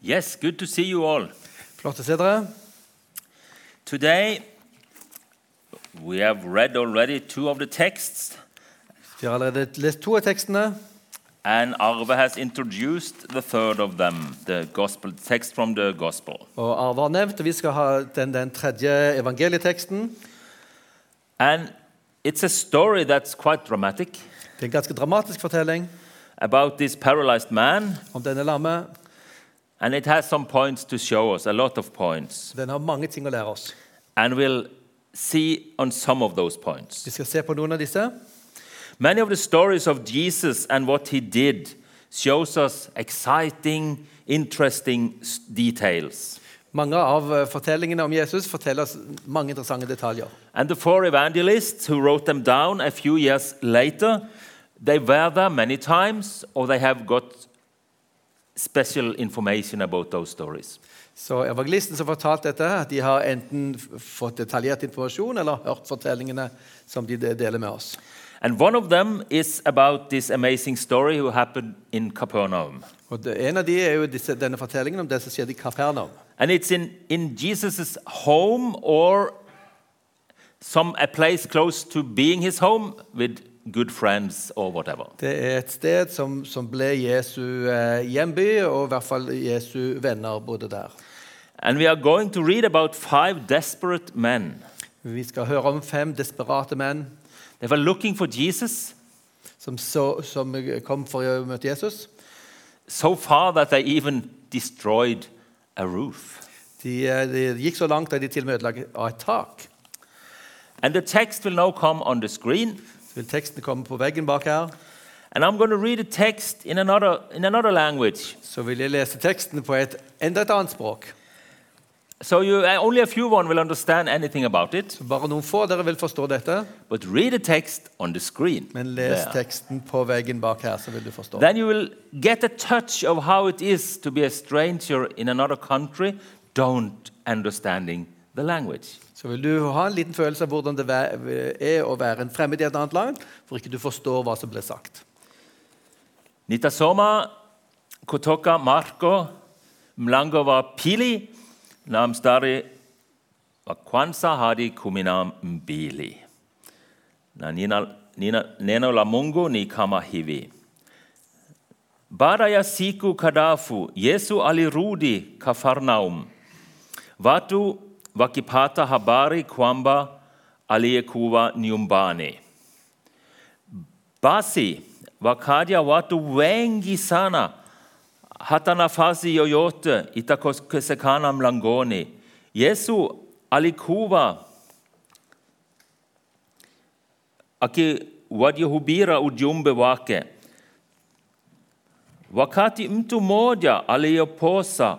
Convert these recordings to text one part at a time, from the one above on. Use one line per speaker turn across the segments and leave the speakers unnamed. Yes, good to see you all.
Flott å se dere.
Today, we have read already two of the texts,
Vi har allerede lest to av tekstene,
and Arve has introduced the third of them, the gospel text from the gospel.
og Arve har nevnt. og Vi skal ha den, den tredje evangelieteksten.
And it's a story that's quite dramatic
Det er en ganske dramatisk fortelling
about this paralyzed man,
om denne lamme.
and it has some points to show us, a lot of points.
Den har mange ting å lære oss.
And we'll see on some of those points.
Vi skal se på noen av disse.
Many of the stories of Jesus and what he did shows us exciting, interesting s- details.
Mange av eh, fortellingene om Jesus forteller oss mange interessante detaljer.
And the four evangelists who wrote them down a few years later, they were there many times or they have got special information about those stories.
Så evangelisten som fortalte dette, at de har enten f- fått detaljert informasjon eller hørt fortellingene som de de- deler med oss.
And one of them is about this amazing story who happened in Capernaum.
Og det, En av de er jo disse, denne fortellingen om det som skjedde i Kapernaum.
And it's in, in Jesus' home or some a place close to being his home with good friends or whatever.
Det er et sted som, som ble Jesu eh, hjemby, og i hvert fall Jesu venner bodde der.
And we are going to read about five desperate men.
Vi skal høre om fem desperate menn
They were looking for Jesus
som, så, som kom for å møte Jesus.
so far that they even destroyed a roof.
De, eh, de gikk så langt at de til og med ødela et tak.
And the text will now come on the screen.
Så vil teksten komme på veggen bak her.
And I'm going to read a text in another, in another language.
Så vil jeg lese teksten på et, enda et annet språk.
So you, uh, only a few one will understand anything about it.
Bare noen få av dere vil forstå dette,
But read the text on the screen.
men les
There.
teksten på veggen bak her, så vil du forstå.
Then you will get a touch of how it is to be a stranger in another country, don't understanding the language.
Så vil du ha en liten følelse av hvordan det væ- er å være en fremmed i et annet land, for ikke du forstår hva som ble sagt.
Nitasoma, Kotoka, Marko, Mlangova, Pili, Namstari, Wakwansa, Hadi, Kumina, Mbili. Na nina, nina, neno la Mungu ni kama hivi. Baada ya siku kadafu Yesu alirudi Kafarnaum. Watu wakipata habari kwamba aliyekuwa nyumbani. Basi wakaja watu wengi sana, hata nafasi yoyote itakosekana mlangoni. Yesu alikuwa akiwajihubira ujumbe wake. Wakati mtu mmoja aliyeposa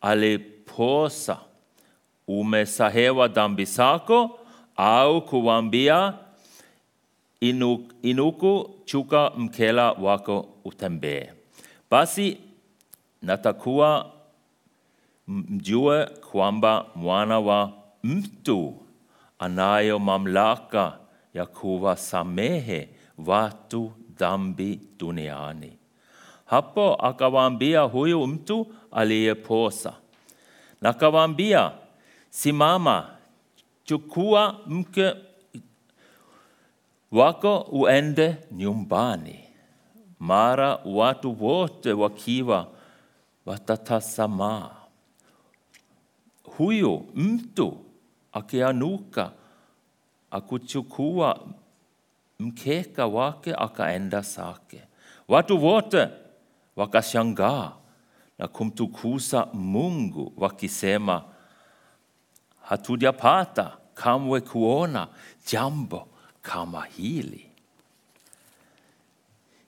aliposa umesahewa dhambi zako, au kuwaambia inu- inuku, chuka mkela wako utembee. Basi natakuwa Mjue, Kwamba, Mwanawa, Mtu, Anayo, Mamlaka, Yakuwa, Samehe, Watu, Dhambi, Duniani. Hapo akawaambia huyu mtu aliyeposa na akawaambia, simama, chukua mke wako uende nyumbani. Mara watu wote wakiwa watatasamaa, huyu mtu akianuka akuchukua mkeka wake akaenda zake. Watu wote wakashangaa na kumtukuza Mungu wakisema, hatujapata kamwe kuona jambo kama hili.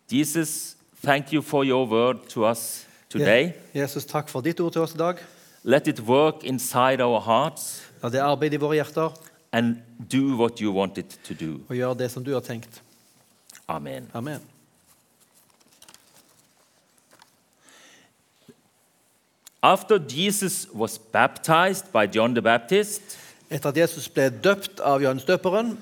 Jesus, thank you for your word to us today.
Jesus, takk for ditt ord til oss i dag.
Let it work inside our hearts
La det arbeide i våre hjerter,
and do what you want it to do.
og gjøre det som du har tenkt.
Amen.
Amen.
After Jesus was baptized by John the Baptist
Etter at Jesus ble døpt av Johannes døperen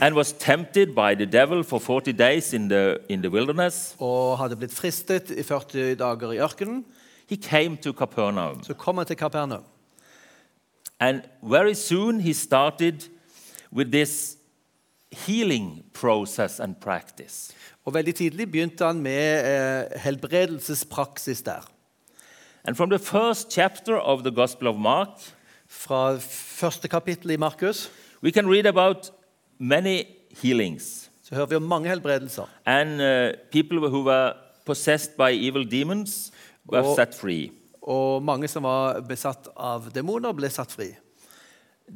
and was tempted by the devil for 40 days in the, in the wilderness,
og hadde blitt fristet i 40 dager i ørkenen,
he came to Capernaum.
så kom han til Kapernaum.
And very soon he started with this healing process and practice.
Og veldig tidlig begynte han med eh, helbredelsespraksis der.
And from the first chapter of the Gospel of Mark,
Fra første kapittel i Markus
we can read about many healings
så hører vi om mange helbredelser.
and uh, people who were possessed by evil demons were
Oh.
set free.
Og mange som var besatt av demoner, ble satt fri.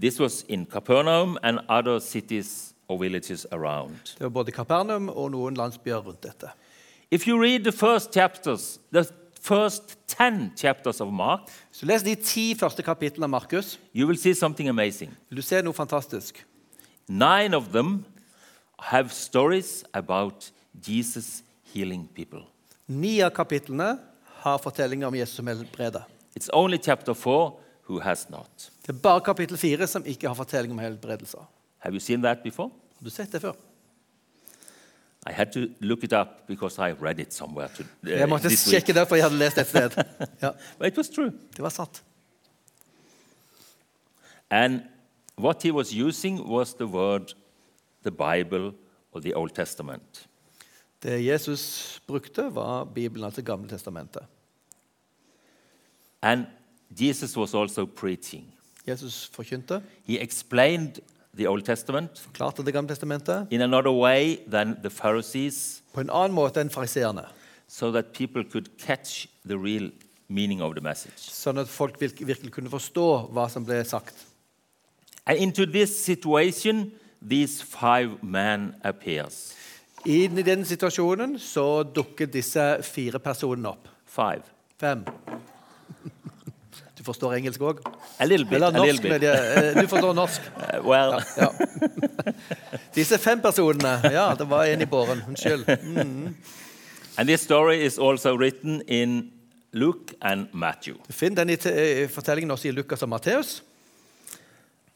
This was in Capernaum and other cities or villages around.
Det var både Kapernaum og noen landsbyer rundt dette.
If you read the first chapters, the first 10 chapters of Mark,
Så les de ti første kapitlene av Markus.
you will see something amazing.
Vil du se noe fantastisk?
Nine of them have stories about Jesus healing people.
Ni av kapitlene har fortellinger om Jesus som helbreder.
It's only chapter 4 who has not.
Det er bare kapittel fire som ikke har fortelling om helbredelser.
Have you seen that before?
Har du sett det før?
I had to look it up because I read it somewhere to, uh,
Jeg måtte
this week.
sjekke det, for jeg hadde lest et sted. Ja,
But it was true.
det var sant.
And what he was using was the word, the Bible, or the Old Testament.
Det Jesus brukte, var Bibelen, altså Gamle testamentet.
And Jesus was also preaching.
Jesus forkynte,
He explained the Old Testament
forklarte Det gamle testamentet,
in another way than the Pharisees
på en annen måte enn fariseerne.
so that people could catch the real meaning of the message.
Sånn at folk virk- virkelig kunne forstå hva som ble sagt.
And into this situation, these five men appears.
Inn I den situasjonen så dukker disse fire personene opp.
Five.
Fem. Du forstår engelsk òg?
A little bit.
Eller
a little
norsk,
bit.
men jeg- eh, du forstår norsk.
Uh, well,
Ja. Disse fem personene. Ja, det var en i båren. Unnskyld.
and this story is also written in Luke and Matthew.
Du finner den i te- eh, fortellingen også i Lukas og Matteus.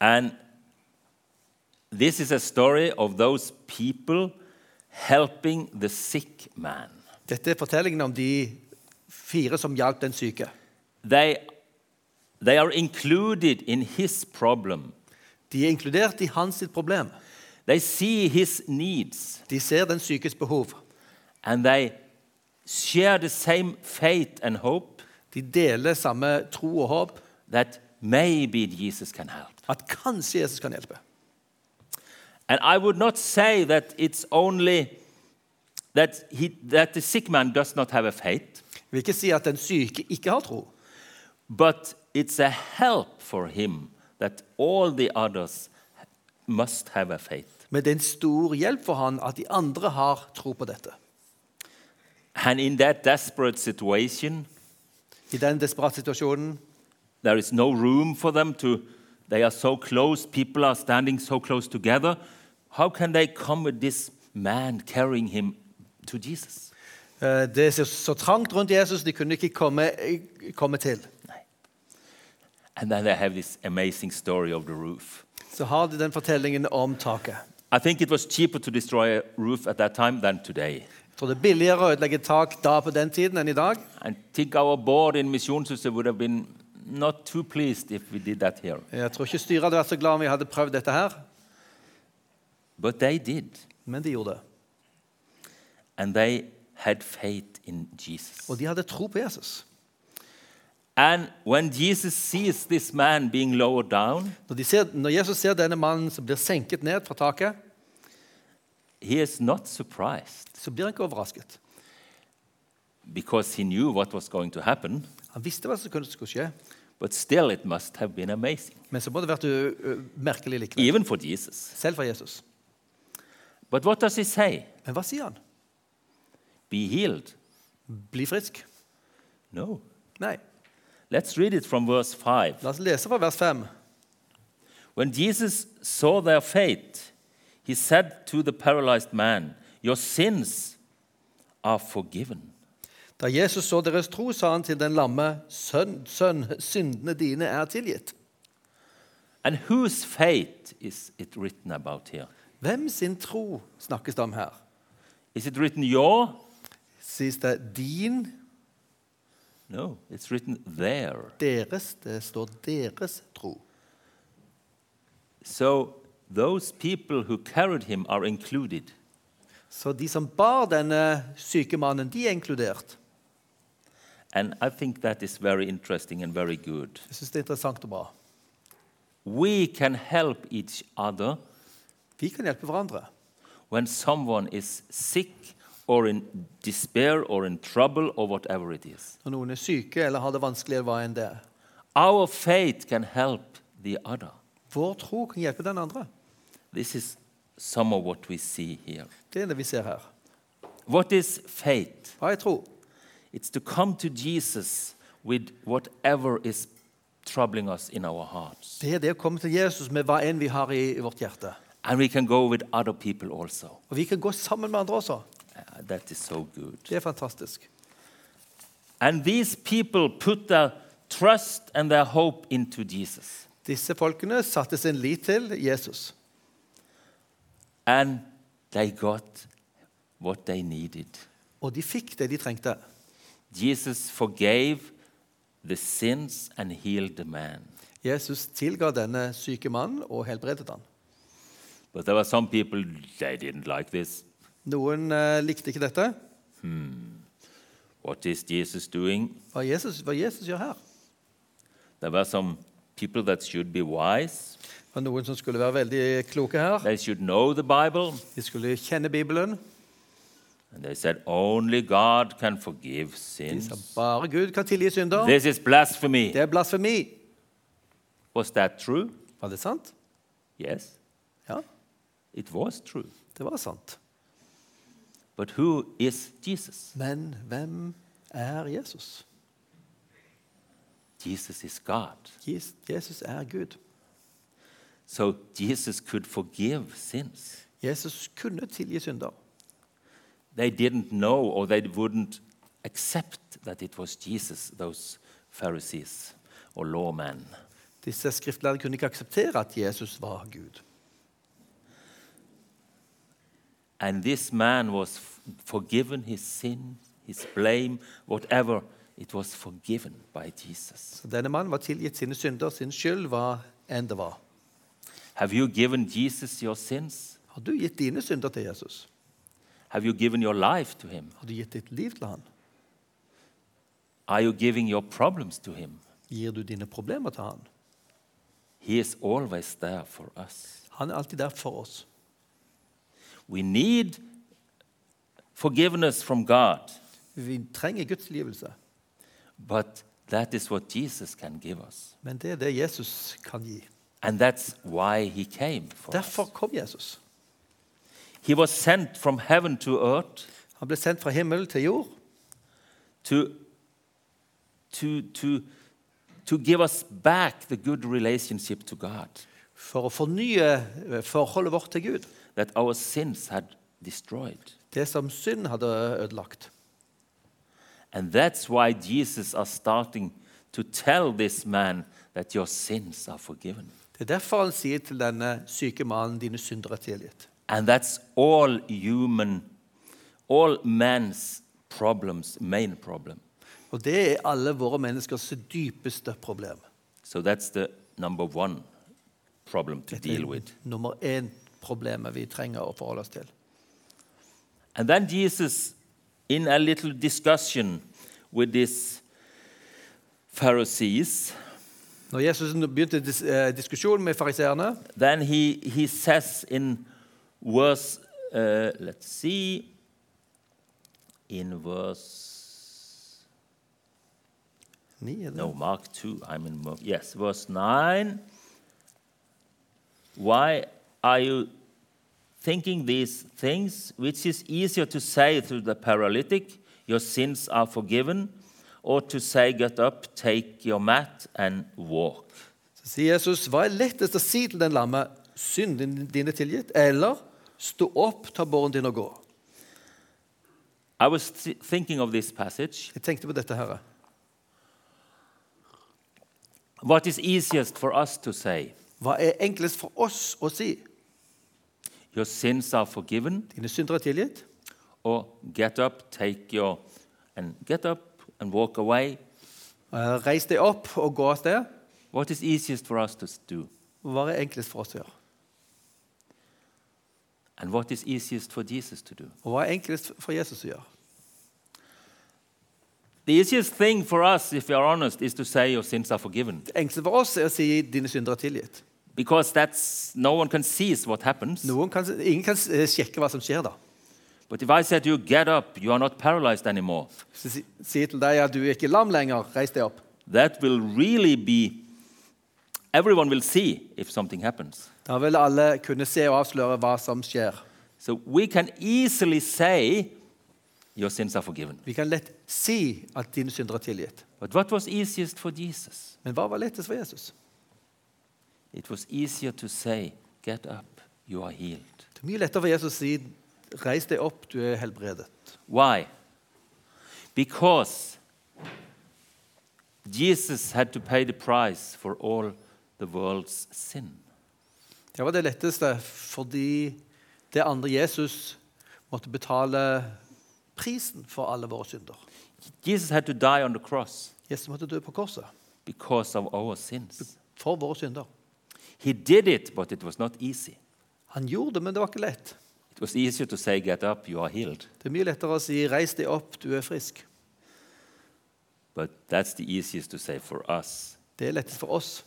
And this is a story of those people helping the sick man.
Dette er fortellingen om de fire som hjalp den syke.
They, they are included in his problem.
De er inkludert i hans sitt problem.
They see his needs
De ser den sykes behov.
and they share the same faith and hope
De deler samme tro og håp
that maybe Jesus can help.
at kanskje Jesus kan hjelpe.
And I would not say that it's only that, he, that the sick man does not have a faith,
Jeg vil ikke si at den syke ikke har tro,
but it's a help for him that all the others must have a faith.
men det er en stor hjelp for han at de andre har tro på dette.
And in that desperate situation,
I den desperate situasjonen
There is no room for them to, they are so close, people are standing so close together. How can they come with this man carrying him to Jesus?
eh, Det er så- så trangt rundt Jesus, de kunne ikke komme, eh, komme til.
And then they have this amazing story of the roof.
Så har de den fortellingen om taket.
I think it was cheaper to destroy a roof at that time than today.
Jeg tror det er billigere å ødelegge tak da på den tiden enn i dag.
I think our board in Missionshuset would have been not too pleased if we did that here.
Jeg tror ikke styret hadde vært så glad om vi hadde prøvd dette her,
But they did.
men de gjorde det.
And they had faith in Jesus.
Og de hadde tro på Jesus.
And when Jesus sees this man being lowered down,
Når, de ser, når Jesus ser denne mannen som blir senket ned fra taket,
he is not surprised
så blir han ikke overrasket.
because he knew what was going to happen,
Han visste hva som kunne skulle skje,
but still it must have been amazing,
men så må det vært u- u- merkelig likevel.
even for Jesus.
Selv for Jesus.
But what does he say?
Men hva sier han?
Be healed?
Bli frisk?
No.
Nei.
Let's read it from verse 5.
La oss lese fra vers 5.
When Jesus saw their faith, he said to the paralyzed man, Your sins are forgiven.
Da Jesus så deres tro, sa han til den lamme, sønn, sønn, syndene dine er tilgitt.
And whose faith is it written about here?
Hvem sin tro snakkes det om her?
Is it written your?
Sies det din,
No, it's written there.
deres, det står deres tro.
So those people who carried him are included.
Så de som bar denne syke mannen, de er inkludert.
And I think that is very interesting and very good.
Jeg syns det er interessant og bra.
We can help each other
Vi kan hjelpe hverandre.
when someone is sick or in despair or in trouble or whatever it is.
Når noen er syke eller har det vanskeligere hva enn det er.
Our faith can help the other.
Vår tro kan hjelpe den andre.
This is some of what we see here.
Det er det vi ser her.
What is faith?
Hva er tro?
It's to come to Jesus with whatever is troubling us in our hearts.
Det er det å komme til Jesus med hva enn vi har i, i vårt hjerte.
And we can go with other people also.
Og vi kan gå sammen med andre også.
Uh, That is so good.
Det er fantastisk.
And these people put their trust and their hope into Jesus.
Disse folkene satte sin lit til Jesus,
And they got what they needed.
og de fikk det de trengte.
Jesus forgave the sins and healed the man.
Jesus tilga denne syke mannen og helbredet han.
But there were some people, they didn't like this.
Noen eh, likte ikke dette.
What is Jesus doing?
Hva Jesus, hva Jesus gjør her?
There were some people that should be wise.
Det var noen som skulle være veldig kloke her.
They should know the Bible.
De skulle kjenne Bibelen.
And they said, Only God can forgive
De
sins.
sa bare Gud kan tilgi synder.
This is blasphemy.
Det er blasfemi.
Was that true?
Var det sant?
Yes,
Ja,
it was true.
det var sant.
But who is Jesus?
Men hvem er Jesus?
Jesus is God.
Jes- Jesus er Gud.
So Jesus could forgive sins.
Jesus kunne tilgi synder.
They didn't know or they wouldn't accept that it was Jesus, those Pharisees or lawmen.
Disse skriftlærde kunne ikke akseptere at Jesus var Gud.
And this man was f- forgiven his sin, his blame, whatever. It was forgiven by Jesus.
Så denne mannen var tilgitt sine synder, sin skyld, hva enn det var.
Have you given Jesus your sins?
Har du gitt dine synder til Jesus?
Have you given your life to him?
Har du gitt ditt liv til han?
Are you giving your problems to him?
Gir du dine problemer til han?
He is always there for us.
Han er alltid der for oss.
We need forgiveness from God,
Vi trenger Guds tilgivelse,
but that is what Jesus can give us.
men det er det Jesus kan gi.
And that's why he came for us.
Derfor kom Jesus.
He was sent from heaven to earth
Han ble sendt fra himmel til jord
to, to, to, to give us back the good relationship to God
for å fornye eh, forholdet vårt til Gud.
that our sins had destroyed.
Det som synd hadde ødelagt.
And that's why Jesus are starting to tell this man that your sins are forgiven.
Det er derfor han sier til denne syke mannen dine syndere er tilgitt.
And that's all human, all man's problems, main problem.
Og det er alle våre menneskers dypeste problem.
So that's the number one problem to
Dette er
deal with.
nummer én-problemet vi trenger å forholde oss til.
And then Jesus, in a little discussion with these Pharisees,
Når Jesus begynte dis eh, diskusjonen med fariseerne,
then he, he says in verse, uh, let's see, in verse,
Ni, er det?
no, Mark 2, I'm in, Mark- yes, verse 9. Why are you thinking these things, which is easier to say to the paralytic, your sins are forgiven, or to say, get up, take your mat, and walk?
Så sier Jesus, hva er lettest å si til den lamme? Synden din er tilgitt. Eller stå opp, ta båren din og gå.
I was th- thinking of this passage.
Jeg tenkte på dette her.
What is easiest for us to say?
Hva er enklest for oss å si?
Your sins are forgiven,
Dine syndere er tilgitt.
or get up, take your, and get up and walk away.
Eh, Reis deg opp og gå av sted.
What is easiest for us to s- do?
Hva er enklest for oss å gjøre?
And what is easiest for Jesus to do?
Og hva er enklest for Jesus å gjøre?
The easiest thing for us, if we are honest, is to say your sins are forgiven.
Det enkleste for oss er å si 'dine syndere er tilgitt'.
Because that's no one can seize what happens.
Noen kan, ingen kan eh, sjekke hva som skjer da.
But if I said to you, get up, you are not paralyzed anymore,
Så si, si til deg at du er ikke lam lenger, reis deg opp.
that will really be everyone will see if something happens.
Da vil alle kunne se og avsløre hva som skjer.
So we can easily say your sins are forgiven.
Vi kan lett si at dine syndere er tilgitt.
But what was easiest for Jesus?
Men hva var lettest for Jesus?
It was easier to say, Get up, you are healed.
Det er mye lettere for Jesus å si 'reis deg opp, du er helbredet'.
Why? Because Jesus had to pay the price for all the world's sin.
Det var det letteste fordi det andre Jesus måtte betale prisen for alle våre synder.
Jesus had to die on the cross
Jesus måtte dø på korset
because of our sins.
for våre synder.
He did it, but it was not easy.
Han gjorde det, men det var ikke lett.
It was easier to say, Get up, you are healed.
Det er mye lettere å si 'reis deg opp, du er frisk'.
But that's the easiest to say for us.
Det er lettest for oss.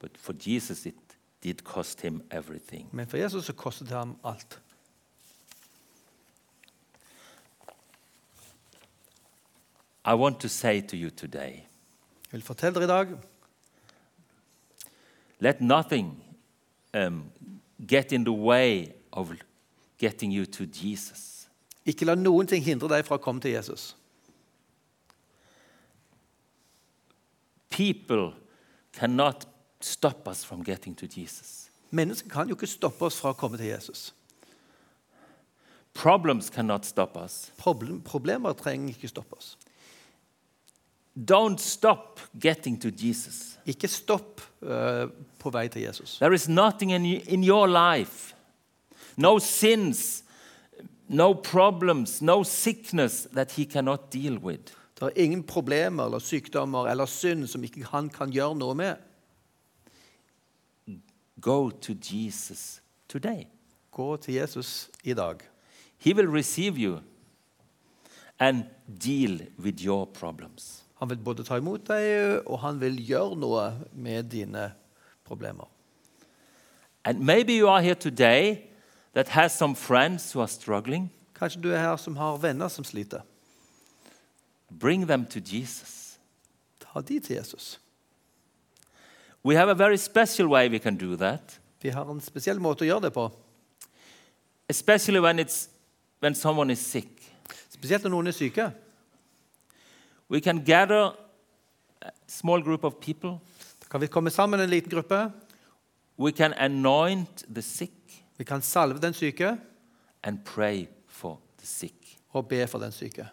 But for Jesus, it did cost him everything.
Men for Jesus så kostet det ham alt.
I want to say to you today
Jeg vil fortelle dere i dag
let nothing um, get in the way of getting you to Jesus.
ikke la noen ting hindre deg fra å komme til Jesus.
People cannot stop us from getting to Jesus,
Mennesker kan jo ikke stoppe oss fra å komme til Jesus.
problems cannot stop us.
Problem, problemer trenger ikke stoppe oss.
Don't stop getting to Jesus.
Ikke stopp eh, på vei til Jesus.
There is nothing in, y- in your life, no sins, no problems, no sickness that He cannot deal with.
Det er ingen problemer eller sykdommer eller synd som ikke han kan gjøre noe med.
Go to Jesus today.
Gå til Jesus i dag.
He will receive you and deal with your problems.
Han vil både ta imot deg, og han vil gjøre noe med dine problemer.
And maybe you are here today that has some friends who are struggling.
Kanskje du er her som har venner som sliter.
Bring them to Jesus.
Ta de til Jesus.
We have a very special way we can do that,
Vi har en spesiell måte å gjøre det på.
especially when, it's, when someone is sick.
Spesielt når noen er syke.
We can gather a small group of people.
Da kan vi komme sammen en liten gruppe.
We can anoint the sick
Vi kan salve den syke
and pray for the sick.
og be for den syke.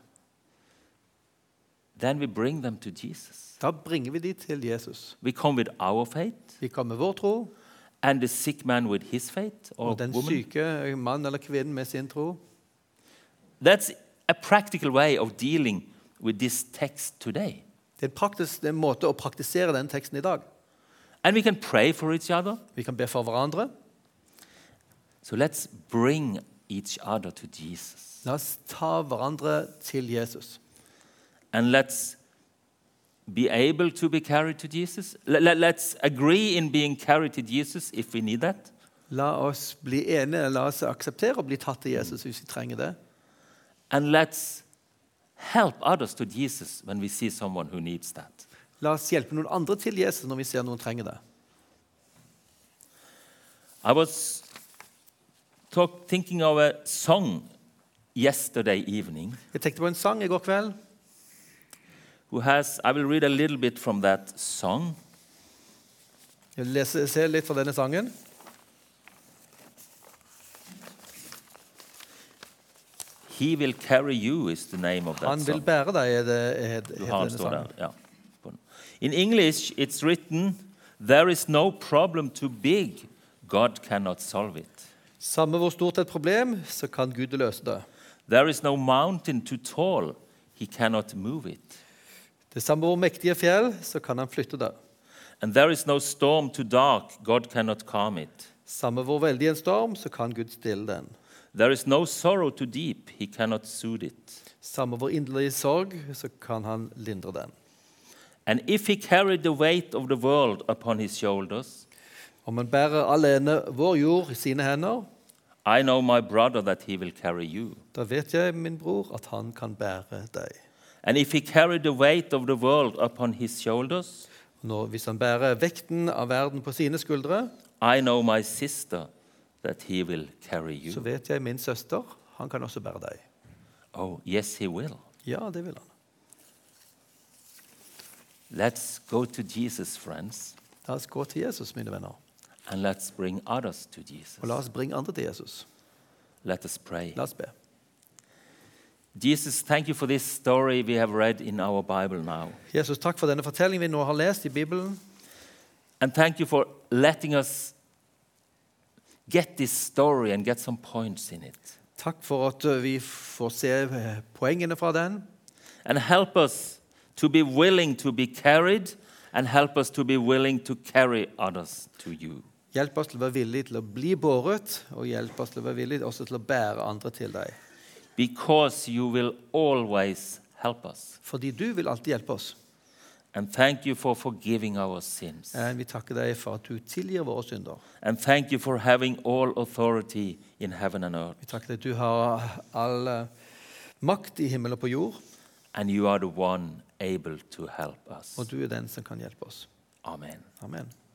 then we bring them to Jesus.
Da bringer vi de til Jesus.
We come with our faith,
Vi kommer med vår tro,
and the sick man with his faith or
og den
woman.
syke mann eller kvinnen med sin tro.
That's a practical way of dealing with this text today.
Det er, en praktisk, det er en måte å praktisere den teksten i dag.
And we can pray for each other.
Vi kan be for hverandre.
So let's bring each other to Jesus.
La oss ta hverandre til Jesus.
And let's be able to be carried to Jesus. Let- let- Let's agree in being carried to Jesus if we need that.
La oss bli enige, la oss akseptere å bli tatt til Jesus hvis vi trenger det.
And let's help others to Jesus when we see someone who needs that.
La oss hjelpe noen andre til Jesus når vi ser noen trenger det.
I was talk, thinking of a song yesterday evening.
Jeg tenkte på en sang i går kveld.
Who has? I will read a little bit from that song.
Jeg vil lese, se litt fra denne sangen.
He will carry you is the name of that
Han vil
song.
bære deg, er det er, er
Du
denne
har den står
sangen.
der, ja. På den. In English it's written, there is no problem too big, God cannot solve it.
Samme hvor stort et problem, så kan Gud løse det.
There is no mountain too tall, he cannot move it.
Det samme hvor mektige fjell, så kan han flytte det.
And there is no storm too dark, God cannot calm it.
Samme hvor veldig en storm, så kan Gud stille den.
There is no sorrow too deep, he cannot soothe it.
Samme hvor inderlig sorg, så kan han lindre den.
And if he carried the weight of the world upon his shoulders,
Om han bærer alene vår jord i sine hender,
I know my brother that he will carry you.
da vet jeg, min bror, at han kan bære deg.
And if he carried the weight of the world upon his shoulders,
Når, hvis han bærer vekten av verden på sine skuldre,
I know my sister that he will carry
så
you.
vet jeg, min søster, han kan også bære deg.
Oh, yes, he will.
Ja, det vil han.
Let's go to Jesus, friends,
La oss gå til Jesus, mine venner,
and let's bring others to
og la
Jesus.
oss bringe andre til Jesus.
Let us pray.
La oss be.
Jesus, thank you for this story we have read in our Bible now.
Jesus, takk for denne fortellingen vi nå har lest i Bibelen.
And thank you for letting us get this story and get some points in it.
Takk for at eh, vi får se eh, poengene fra den.
And help us to be willing to be carried, and help us to be willing to carry others to you.
Hjelp oss til å være villige til å bli båret, og hjelp oss til å være villige også til å bære andre til deg.
because you will always help us.
Fordi du vil alltid hjelpe oss.
And thank you for forgiving our sins.
Eh, Vi takker deg for at du tilgir våre synder.
And thank you for having all authority in heaven and earth.
Vi takker deg at du har all eh, makt i himmel og på jord,
And you are the one able to help us.
og du er den som kan hjelpe oss.
Amen.
Amen.